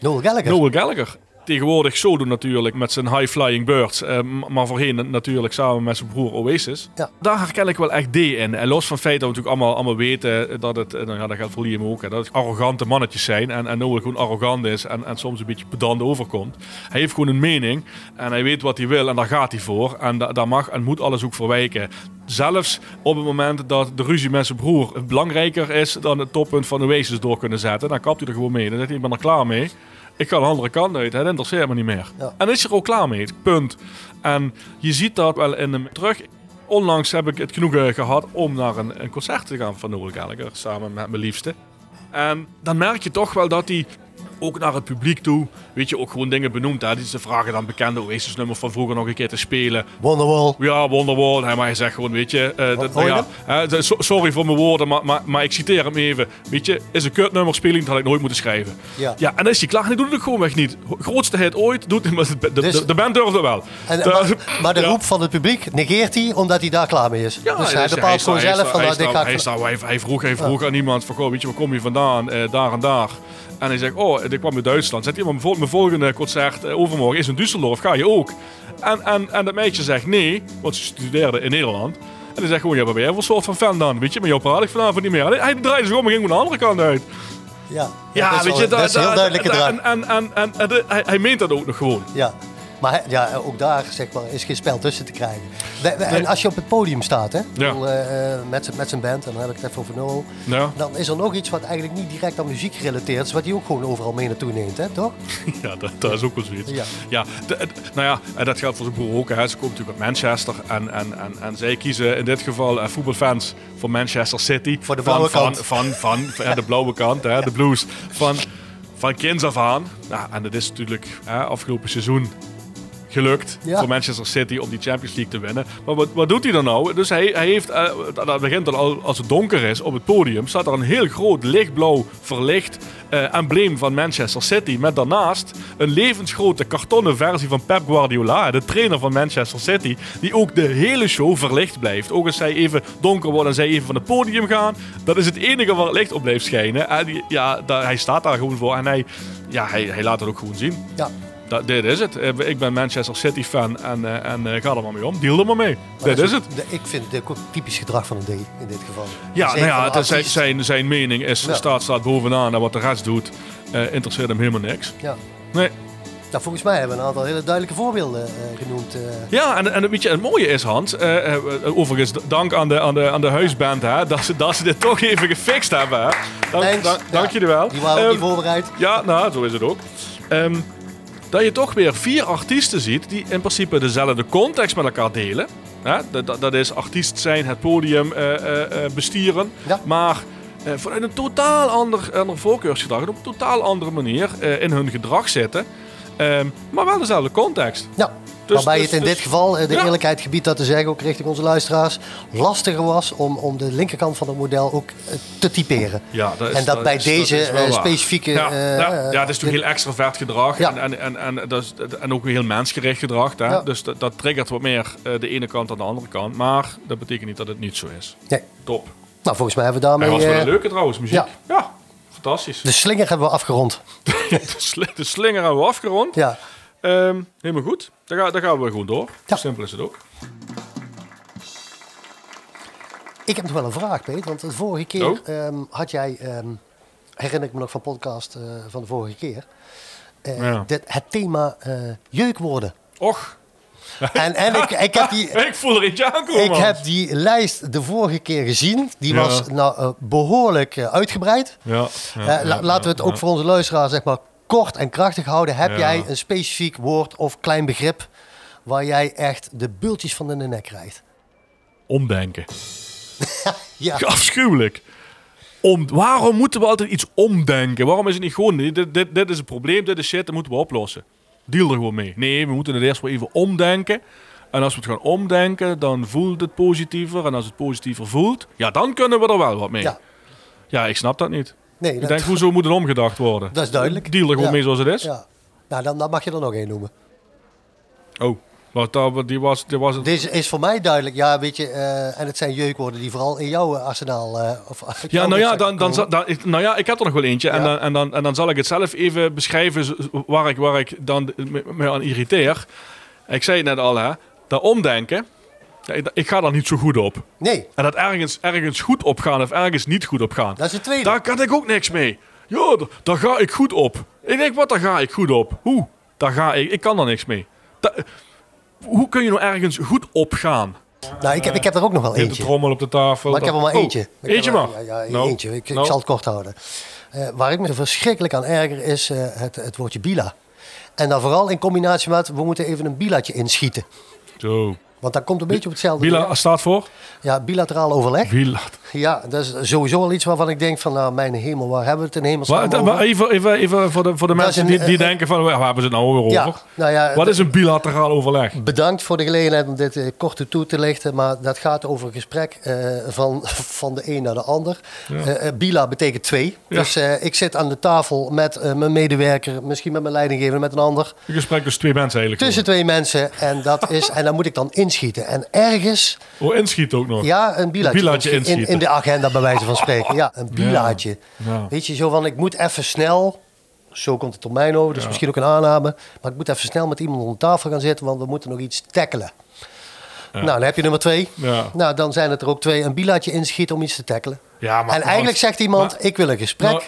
Noel Gallagher. Noel Gallagher. Tegenwoordig zo doen natuurlijk met zijn High Flying Birds. eh, m- maar voorheen na- natuurlijk samen met zijn broer Oasis. Ja. Daar herken ik wel echt D in. En los van het feit dat we natuurlijk allemaal, allemaal weten dat het, eh, nou ja, dat geldt voor Liam ook, hè, dat het arrogante mannetjes zijn. En, en Noel gewoon arrogant is en, en soms een beetje pedant overkomt. Hij heeft gewoon een mening en hij weet wat hij wil en daar gaat hij voor. En da- daar mag en moet alles ook voor wijken. Zelfs op het moment dat de ruzie met zijn broer belangrijker is dan het toppunt van Oasis door kunnen zetten. Dan kapt hij er gewoon mee. Dan zegt hij, ik ben er klaar mee. Ik ga de andere kant uit. Het interesseert me niet meer. Ja. En is er ook klaar mee. Punt. En je ziet dat wel in hem terug. Onlangs heb ik het genoegen gehad om naar een, een concert te gaan van Noel Gallagher. Samen met mijn liefste. En dan merk je toch wel dat hij ook naar het publiek toe, weet je, ook gewoon dingen benoemt. Hè? Die ze vragen dan bekende Oasis-nummers van vroeger nog een keer te spelen. Wonderwall. Ja, Wonderwall. Hè, maar hij zegt gewoon, weet je... eh, dat, hoor je ja, hè, dat- so- sorry voor mijn woorden, maar, maar, maar ik citeer hem even. Weet je, is een kutnummer, speling, dat had ik nooit moeten schrijven. Ja. ja en dan is hij klaar. Hij doet het ook gewoon weg niet. Ho- Grootste hit ooit. Doet, hij, maar de, de, Dus- de, de band durfde wel. En, Da- maar, maar de Ja. roep van het publiek negeert hij omdat hij daar klaar mee is. Ja, dus hij is- bepaalt is gewoon daar- hij zelf is van daar- dat hij dit ga is daar- ik- hij, is daar- hij, hij vroeg, hij vroeg aan iemand van, goh, weet je, waar kom je vandaan? Eh, daar en daar. En hij zegt, oh, ik kwam uit Duitsland. Zegt iemand, mijn volgende concert eh, overmorgen is in Düsseldorf, ga je ook? En, en, en dat meisje zegt nee, want ze studeerde in Nederland. En hij zegt gewoon, ja, wat ben jij voor soort van fan dan? Weet je, met jou praat ik vanavond niet meer. En hij, hij draaide zich om en ging gewoon de andere kant uit. Ja, Ja, dat is, weet wel- je, dat is heel duidelijk gedrag. En, en, en, en, en de- hij, hij meent dat ook nog gewoon. Ja. Maar hij- ja, ook daar zeg maar, is geen spel tussen te krijgen. We- we- En Nee. als je op het podium staat, hè, ik Ja. bedoel, eh, eh, met, z'n- met zijn band, en dan heb ik het even over Noel. Ja. Dan is er nog iets wat eigenlijk niet direct aan muziek gerelateerd is, wat hij ook gewoon overal mee naartoe neemt, hè, toch? Ja, dat, dat is ook wel zoiets. Ja. Ja. de- het- nou ja, en dat geldt voor zijn broer ook. Hè. Ze komt natuurlijk uit Manchester. En, en, en, en zij kiezen in dit geval eh, voetbalfans voor Manchester City. Voor de Van- blauwe van, kant. Van, van, van- ja, de blauwe kant, hè, de blues. Van, van kinds af aan. Nou, en dat is natuurlijk hè, afgelopen seizoen gelukt Ja. voor Manchester City om die Champions League te winnen. Maar wat, wat doet hij dan nou? Dus hij, hij heeft, eh, dat dat begint dan al als het donker is op het podium, staat er een heel groot lichtblauw verlicht eh, embleem van Manchester City. Met daarnaast een levensgrote kartonnen versie van Pep Guardiola, de trainer van Manchester City, die ook de hele show verlicht blijft. Ook als zij even donker worden en zij even van het podium gaan, dat is het enige waar het licht op blijft schijnen. En die- ja, daar- hij staat daar gewoon voor en hij, ja, hij, hij laat het ook gewoon zien. Ja. Dat, dit is het. Eh, Ik ben Manchester City fan en, eh, en eh, ga er maar mee om. Deal er maar mee. dit is het. De- ik vind het ook typisch gedrag van een D in dit geval. Ja, Zeker nou ja, van het is zijn, artiest. zijn, zijn mening is, Ja. staat, staat bovenaan en wat de rest doet, eh, interesseert hem helemaal niks. Ja. Nee. Nou, volgens mij hebben we een aantal hele duidelijke voorbeelden eh, genoemd. eh, Ja, en, en weet je, het mooie is, Hans, eh, eh, overigens d- dank aan de, aan de, aan de huisband, hè, dat, ze, dat ze dit toch even gefixt hebben. Hè. Dank, thanks. dank, Ja, dank jullie wel. Die waren ook Ehm, niet voorbereid. Ja, nou, zo is het ook. Ehm, dat je toch weer vier artiesten ziet die in principe dezelfde context met elkaar delen. Hè? Dat, dat, dat is artiest zijn, het podium eh, eh, eh, bestieren. Ja. Maar eh, vanuit een totaal ander, ander voorkeursgedrag en op een totaal andere manier eh, in hun gedrag zitten. Ehm, maar wel dezelfde context. Ja, Dus- Waarbij dus- het in dus- dit geval, eh, de Ja. eerlijkheid gebiedt dat te zeggen, ook richting onze luisteraars, lastiger was om, om de linkerkant van het model ook eh, te typeren. Ja, dat is- en dat, bij is- deze is wel eh, waar. specifieke. Ja, eh, eh, ja, ja, het is de- natuurlijk heel extravert gedrag. Ja. En, en, en, en, dat is, en ook een heel mensgericht gedrag. Hè? Ja. Dus dat, dat triggert wat meer eh, de ene kant dan de andere kant. Maar dat betekent niet dat het niet zo is. Nee. Top. Nou, volgens mij hebben we daarmee Hij was wel eh, een leuke trouwens, muziek. ja. Ja, fantastisch. de slinger hebben we afgerond. de, sli- de slinger hebben we afgerond. Ja. Ehm, helemaal goed. Dan, ga, dan gaan we gewoon door. Ja. Zo Simpel is het ook. Ik heb nog wel een vraag, Peet. Want de vorige keer Oh. ehm, had jij, ehm, herinner ik me nog van podcast eh, van de vorige keer, eh, Ja. dit- het thema eh jeukwoorden. Och, En, en ik, ik heb die, ik voel er iets aankomen. Ik Oh, man. heb die lijst de vorige keer gezien. Die Ja. was nou, eh, behoorlijk eh, uitgebreid. Ja, ja, Eh, la- ja, laten we het ja, ook ja. voor onze luisteraar zeg maar, kort en krachtig houden. Heb Ja. jij een specifiek woord of klein begrip waar jij echt de bultjes van in de nek krijgt? Omdenken. Ja, Afschuwelijk. Om, waarom moeten we altijd iets omdenken? Waarom is het niet gewoon, dit, dit, dit is een probleem, dit is shit, dat moeten we oplossen. Deal er gewoon mee. Nee, we moeten het eerst wel even omdenken. En als we het gaan omdenken, dan voelt het positiever. En als het positiever voelt, ja, dan kunnen we er wel wat mee. ja. Ja, ik snap dat niet. Nee, Ik dat- denk, hoezo moet het omgedacht worden? Dat is duidelijk. Deal er gewoon Ja. mee zoals het is. ja. Nou, dan, dan mag je er nog één noemen. Oh, wat, dat- die was, die was het. Deze is voor mij duidelijk. Ja, weet je, eh, en het zijn jeukwoorden die vooral in jouw eh, arsenaal... eh, of, uit Ja, jouw nou ja, rugzak dan, dan, komen. zal- dan, ik- nou ja, ik heb er nog wel eentje. En, Ja. dan, en, dan, en dan zal ik het zelf even beschrijven z- waar ik, waar ik dan me- me aan irriteer. Ik zei het net al, hè. Dat omdenken, ja, ik, ik ga daar niet zo goed op. Nee, En dat ergens, ergens goed op gaan of ergens niet goed op gaan. dat is het tweede. Daar kan ik ook niks mee. Ja, d- daar ga ik goed op. Ik denk, wat, daar ga ik goed op? Hoe? Daar ga ik, ik kan daar niks mee. Da- hoe kun je nou ergens goed op gaan? nou, ik, heb- ik heb er ook nog wel Hit de eentje. trommel op de tafel. Maar ik heb er maar Oh, eentje. Ik eentje heb er- maar. Ja, ja, Nou, eentje. Ik, ik nou. zal het kort houden. Eh, waar ik me verschrikkelijk aan erger is eh, het, het woordje bila. En dan vooral in combinatie met, we moeten even een bilatje inschieten. Zo. Want dat komt een beetje op hetzelfde. Bila staat voor? Ja, bilateraal overleg. Bila. Ja, dat is sowieso al iets waarvan ik denk van, nou mijn hemel, waar hebben we het in hemelsnaam Maar, over? maar even, even, even voor de, voor de Dat is mensen een, die, die eh, denken van, waar hebben ze het nou weer Ja, over? nou ja, Wat dat- is een bilateraal overleg? Bedankt voor de gelegenheid om dit eh, kort toe te lichten. Maar dat gaat over een gesprek eh, van, van de een naar de ander. Eh, eh, Bila betekent twee. Ja. Dus eh, ik zit aan de tafel met eh, mijn medewerker, misschien met mijn leidinggever, met een ander. Een gesprek tussen twee mensen eigenlijk. Tussen twee mensen. En, dat is, en dan moet ik dan inschieten. En ergens, Oh, inschiet ook nog. ja, een bilaatje. Bilaatje in, in inschieten. de agenda bij wijze van spreken. Ja, een bilaatje. Ja. Weet je, zo van ik moet even snel... Zo komt het op mij over, dus misschien ook een aanname. Maar ik moet even snel met iemand om de tafel gaan zitten, want we moeten nog iets tackelen. Nou, dan heb je nummer twee. Ja. Nou, dan zijn het er ook twee. Een bilaatje inschiet om iets te tackelen. Ja, maar- en eigenlijk zegt iemand, ik wil een gesprek. Nou,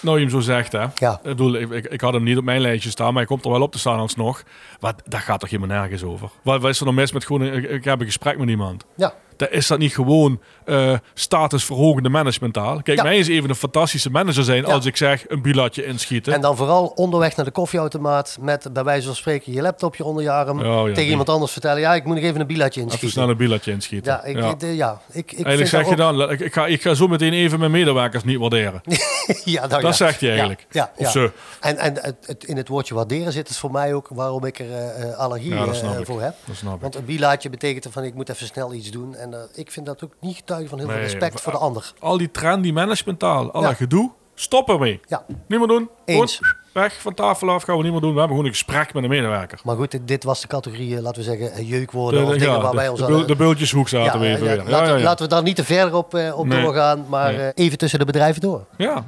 nou, je hem zo zegt, hè. Ja. Ik, bedoel, ik, ik, ik had hem niet op mijn lijstje staan, maar hij komt er wel op te staan alsnog. Maar daar gaat toch helemaal nergens over? Wat, wat is er nou mis met gewoon, een- ik, ik heb een gesprek met iemand? ja. Dat is dat niet gewoon eh, statusverhogende managementtaal? Kijk, Ja. mij is even een fantastische manager zijn Ja. als ik zeg een bilatje inschieten. En dan vooral onderweg naar de koffieautomaat met bij wijze van spreken je laptopje onder je arm. Oh, ja, tegen die. iemand anders vertellen, ja, ik moet nog even een bilaatje Even inschieten. snel een bilatje inschieten. Ja, ik, de- ja, ik, ik vind Eigenlijk zeg dat je ook- dan, la- ik, ik ga, ik ga zo meteen even mijn medewerkers niet waarderen. ja, nou dat ja. zegt hij Ja, eigenlijk. Ja, Of ja. ze. En, en het, het- in het woordje waarderen zit het voor mij ook waarom ik er eh, eh, allergie Ja, dat eh, snap ik. voor heb. Dat snap ik. Want een bilaatje betekent er van ik moet even snel iets doen. En eh, ik vind dat ook niet getuige van heel veel Nee, respect maar- ah. voor de ander. Al die trendy managementtaal, al Ja. dat gedoe, stop ermee. Ja. Niet meer doen. Eens. Goed, Weg van tafel af, gaan we niet meer doen. We hebben gewoon een gesprek met een medewerker. Maar goed, dit, dit was de categorie, eh, laten we zeggen, eh, De, jeukwoorden de, of Oh, dingen ja, waar de- wij ons de aan... bul- de bultjeshoek zaten we ja, eh, even ja, weer. laten, Ja, ja, ja. laten we daar niet te verder op, eh, op Nee. doorgaan, maar Nee. eh, even tussen de bedrijven door. Ja.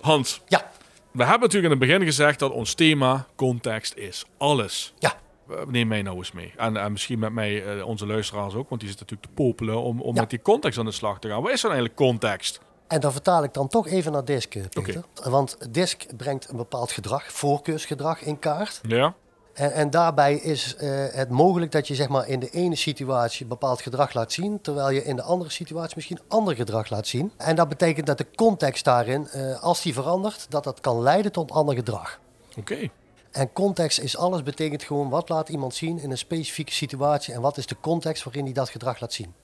Hans, Ja, we hebben natuurlijk in het begin gezegd dat ons thema context is. Alles. ja. Eh, Neem mij nou eens mee. En, en misschien met mij eh, onze luisteraars ook, want die zitten natuurlijk te popelen om, om Ja. met die context aan de slag te gaan. Wat is dan eigenlijk context? En dan vertaal ik dan toch even naar DISC, eh, Peter. Want DISC brengt een bepaald gedrag, voorkeursgedrag in kaart. Ja. En, en daarbij is eh, het mogelijk dat je zeg maar, in de ene situatie bepaald gedrag laat zien, terwijl je in de andere situatie misschien ander gedrag laat zien. En dat betekent dat de context daarin, eh, als die verandert, dat dat kan leiden tot ander gedrag. Oké. En context is alles, betekent gewoon wat laat iemand zien in een specifieke situatie en wat is de context waarin hij dat gedrag laat zien.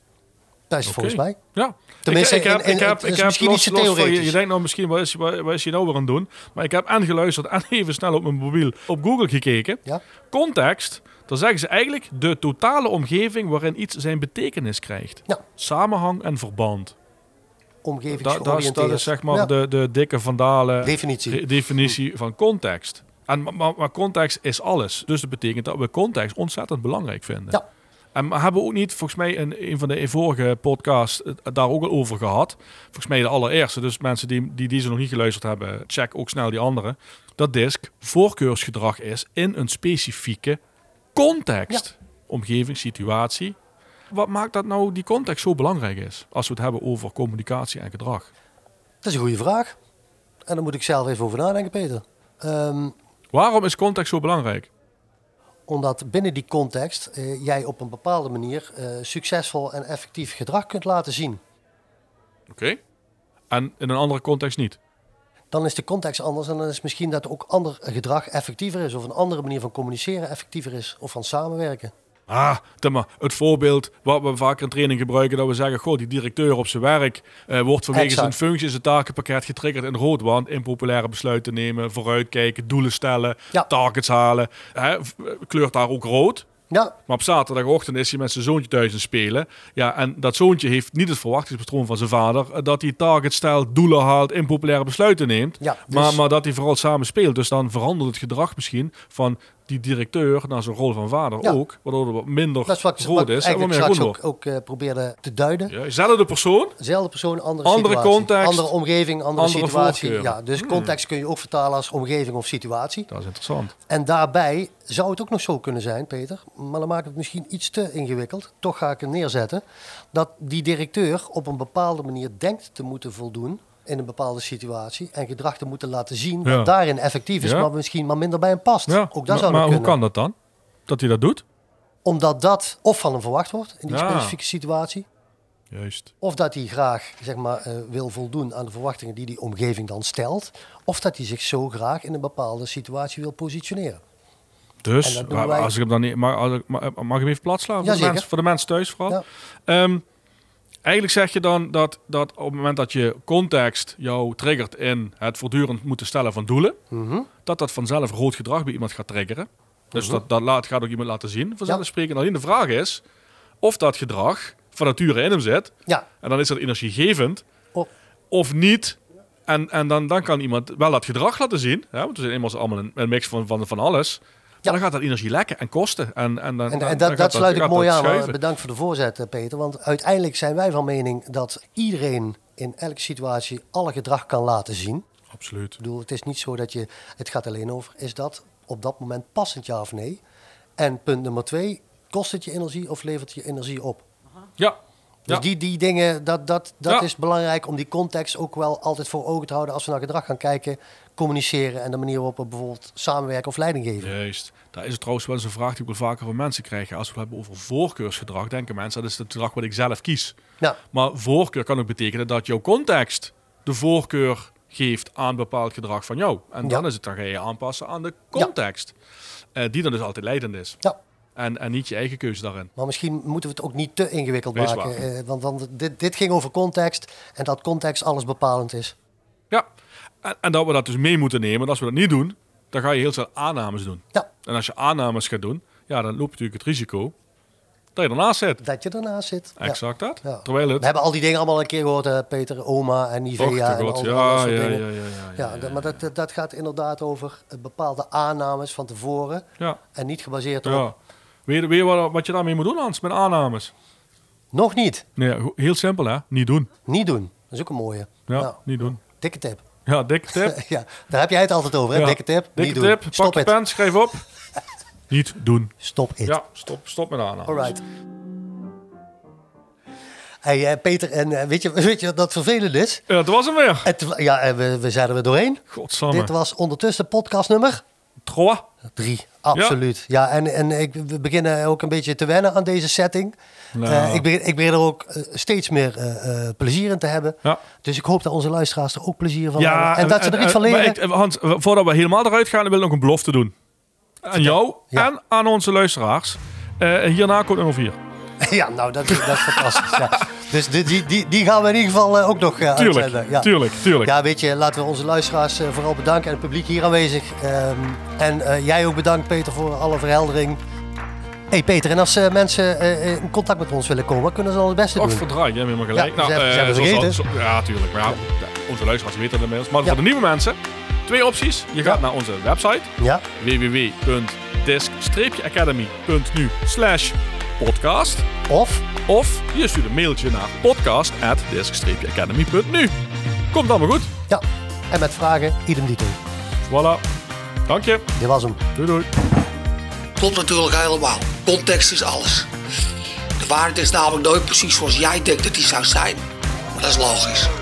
Dat is het volgens mij. Ja. Tenminste, ik, ik heb, in- in- ik heb, het is ik heb misschien los- iets te los van- Je, theoretisch. je denkt nou misschien, wat is, wat, wat is hij nou weer aan het doen? Maar ik heb en geluisterd en even snel op mijn mobiel op Google gekeken. Ja? Context, dan zeggen ze eigenlijk de totale omgeving waarin iets zijn betekenis krijgt. Ja, Samenhang en verband. Da- Dat, is, omgevingsgeoriënteerd. dat is zeg maar Ja, de, de dikke vandalen Definitie. de- definitie van context. En, ma- ma- maar context is alles. Dus dat betekent dat we context ontzettend belangrijk vinden. Ja. En we hebben ook niet, volgens mij, in een van de vorige podcasts het daar ook al over gehad. Volgens mij de allereerste. Dus mensen die, die deze nog niet geluisterd hebben, check ook snel die andere. Dat DISC voorkeursgedrag is in een specifieke context. Omgeving, situatie. Wat maakt dat nou die context zo belangrijk is? Als we het hebben over communicatie en gedrag. Dat is een goede vraag. En daar moet ik zelf even over nadenken, Peter. Ehm, Waarom is context zo belangrijk? omdat binnen die context eh, jij op een bepaalde manier eh, succesvol en effectief gedrag kunt laten zien. Oké. En in een andere context niet. Dan is de context anders en dan is misschien dat ook ander gedrag effectiever is. Of een andere manier van communiceren effectiever is. Of van samenwerken. Ah, dan maar het voorbeeld wat we vaak in training gebruiken, dat we zeggen, goh, die directeur op zijn werk eh, wordt vanwege Exact. zijn functie, zijn takenpakket getriggerd in rood, want impopulaire besluiten nemen, vooruitkijken, doelen stellen, Ja. targets halen, hè, v- kleurt daar ook rood. Ja, Maar op zaterdagochtend is hij met zijn zoontje thuis aan het spelen. Ja, en dat zoontje heeft niet het verwachtingspatroon van zijn vader. eh, Dat hij target stelt, doelen haalt, impopulaire besluiten neemt. Ja, dus- maar, maar dat hij vooral samen speelt. Dus dan verandert het gedrag misschien van die directeur naar zijn rol van vader Ja. ook. Waardoor er wat minder dat is wat ik rood wat ik is en wat eigenlijk meer groen straks wordt. ook, ook eh, probeerde te duiden. Ja, zelfde persoon. Dezelfde persoon, andere, Andere situatie. context, andere omgeving, andere, andere Hmm. situatie. voorkeuren. Ja, dus context kun je ook vertalen als omgeving of situatie. Dat is interessant. En daarbij zou het ook nog zo kunnen zijn, Peter, maar dan maak ik het misschien iets te ingewikkeld. Toch ga ik het neerzetten. Dat die directeur op een bepaalde manier denkt te moeten voldoen in een bepaalde situatie en gedrag te moeten laten zien dat Ja. daarin effectief is, Ja. maar misschien maar minder bij hem past. Ja. Ook dat maar zou maar nog hoe kunnen. kan dat dan? Dat hij dat doet? Omdat dat of van hem verwacht wordt in die Ja. specifieke situatie, Juist. of dat hij graag zeg maar, eh, wil voldoen aan de verwachtingen die die omgeving dan stelt, of dat hij zich zo graag in een bepaalde situatie wil positioneren. En Dus, dat doen maar wij- als ik hem dan niet... Mag, als ik- mag, mag ik hem even platslaan? Voor, de Jazeker. mensen- voor de mensen thuis vooral. Ja. Ehm, eigenlijk zeg je dan dat, dat op het moment dat je context jou triggert in het voortdurend moeten stellen van doelen, Mhm. dat dat vanzelf rood gedrag bij iemand gaat triggeren. Dus dat, dat laat, gaat ook iemand laten zien, vanzelfsprekend. Alleen de vraag is of dat gedrag van nature in hem zit, Ja, en dan is dat energiegevend, Of- of niet. En, en dan, dan kan iemand wel dat gedrag laten zien, hè, want we zijn eenmaal allemaal een, een mix van, van, van alles. Ja. Maar dan gaat dat energie lekken en kosten. En, en, dan, En, dan- en dan dat, gaat dat sluit ik gaat mooi dat aan. schuiven. Bedankt voor de voorzet, eh, Peter. Want uiteindelijk zijn wij van mening dat iedereen in elke situatie alle gedrag kan laten zien. Ik Absoluut. bedoel, het is niet zo dat je. Het gaat alleen over: is dat op dat moment passend ja of nee? En punt nummer twee: kost het je energie of levert het je energie op? Ja. Dus Ja. die, die dingen, dat, dat, dat Ja. is belangrijk om die context ook wel altijd voor ogen te houden als we naar gedrag gaan kijken, communiceren en de manier waarop we bijvoorbeeld samenwerken of leiding geven. Juist. Dat is het trouwens wel eens een vraag die we vaker van mensen krijgen. Als we het hebben over voorkeursgedrag, denken mensen dat is het gedrag wat ik zelf kies. Nou, Maar voorkeur kan ook betekenen dat jouw context de voorkeur geeft aan bepaald gedrag van jou. En dan Ja. is het dan ga je aanpassen aan de context. Eh, die dan dus altijd leidend is. ja. En, en niet je eigen keuze daarin. Maar misschien moeten we het ook niet te ingewikkeld Wees maken. waar. eh, want want dit, dit ging over context en dat context alles bepalend is. Ja. En, en dat we dat dus mee moeten nemen. Want als we dat niet doen, dan ga je heel snel aannames doen. Ja, En als je aannames gaat doen, ja, dan loop je natuurlijk het risico dat je ernaast zit. dat je daarnaast zit. Ja. Exact dat. Ja. Terwijl het We hebben al die dingen allemaal een keer gehoord, eh, Peter, Oma en Nivea Och, en de god. al die Ja, andere ja, soort ja, dingen. ja, ja, Ja, dat- maar dat, dat gaat inderdaad over eh, bepaalde aannames van tevoren ja. en niet gebaseerd op... ja. Weer, weer wat, wat je daarmee moet doen, Hans, met aannames. Nog niet, Nee, go- heel simpel, hè? Niet doen. niet doen. Dat is ook een mooie. Ja, Nou, niet doen. dikke tip. Ja, dikke tip. ja, daar heb jij het altijd over, hè? Ja. Dikke tip, Dikke niet doen. tip. Stop Pak je het. pen, schrijf op. niet doen. Stop het. Ja, stop, stop met aannames. Alright. Hey, eh, Peter, en eh, weet, je, weet je wat dat vervelend is? Ja, dat was hem weer. Het, ja, eh, we, we zijn er weer doorheen. Dit Godsamme. was ondertussen podcast nummer Troa. drie. Absoluut. Ja, en, en ik, we beginnen ook een beetje te wennen aan deze setting. Nou. Eh, ik, begin, ik begin er ook eh, steeds meer eh, eh, plezier in te hebben. Ja. Dus ik hoop dat onze luisteraars er ook plezier van hebben. En, dat ze er iets van maar leren. ik- Hans, voordat we helemaal eruit gaan, wil ik nog een belofte doen. Aan jou Ja. en aan onze luisteraars. Eh, hierna komt nummer 4. ja, nou, dat, dat is fantastisch. Ja. Dus die, die, die, die gaan we in ieder geval eh, ook nog eh, Tuurlijk, uitzenden. Ja. tuurlijk, tuurlijk. Ja, weet je, laten we onze luisteraars eh, vooral bedanken en het publiek hier aanwezig. Ehm, en eh, jij ook bedankt, Peter, voor alle verheldering. hey Peter, en als eh, mensen eh, in contact met ons willen komen, kunnen ze dan het beste Och, doen? verdraai, jij hebt helemaal Ja, gelijk. ze hebben- eh, ze hebben zoals vergeten. al- zo- ja, tuurlijk. Maar ja, onze luisteraars weten dat inmiddels. Maar Ja. voor de nieuwe mensen, twee opties. Je gaat Ja. naar onze website Ja, www.disc-academy.nu slash podcast. of Of je stuurt een mailtje naar podcast.disc-academy.nu. Komt allemaal goed. ja, en met vragen, idem dito. Voilà. Dank je. Dit was hem. Doei doei. Klopt natuurlijk helemaal. Context is alles. De waarheid is namelijk nooit precies zoals jij denkt dat die zou zijn. Maar dat is logisch.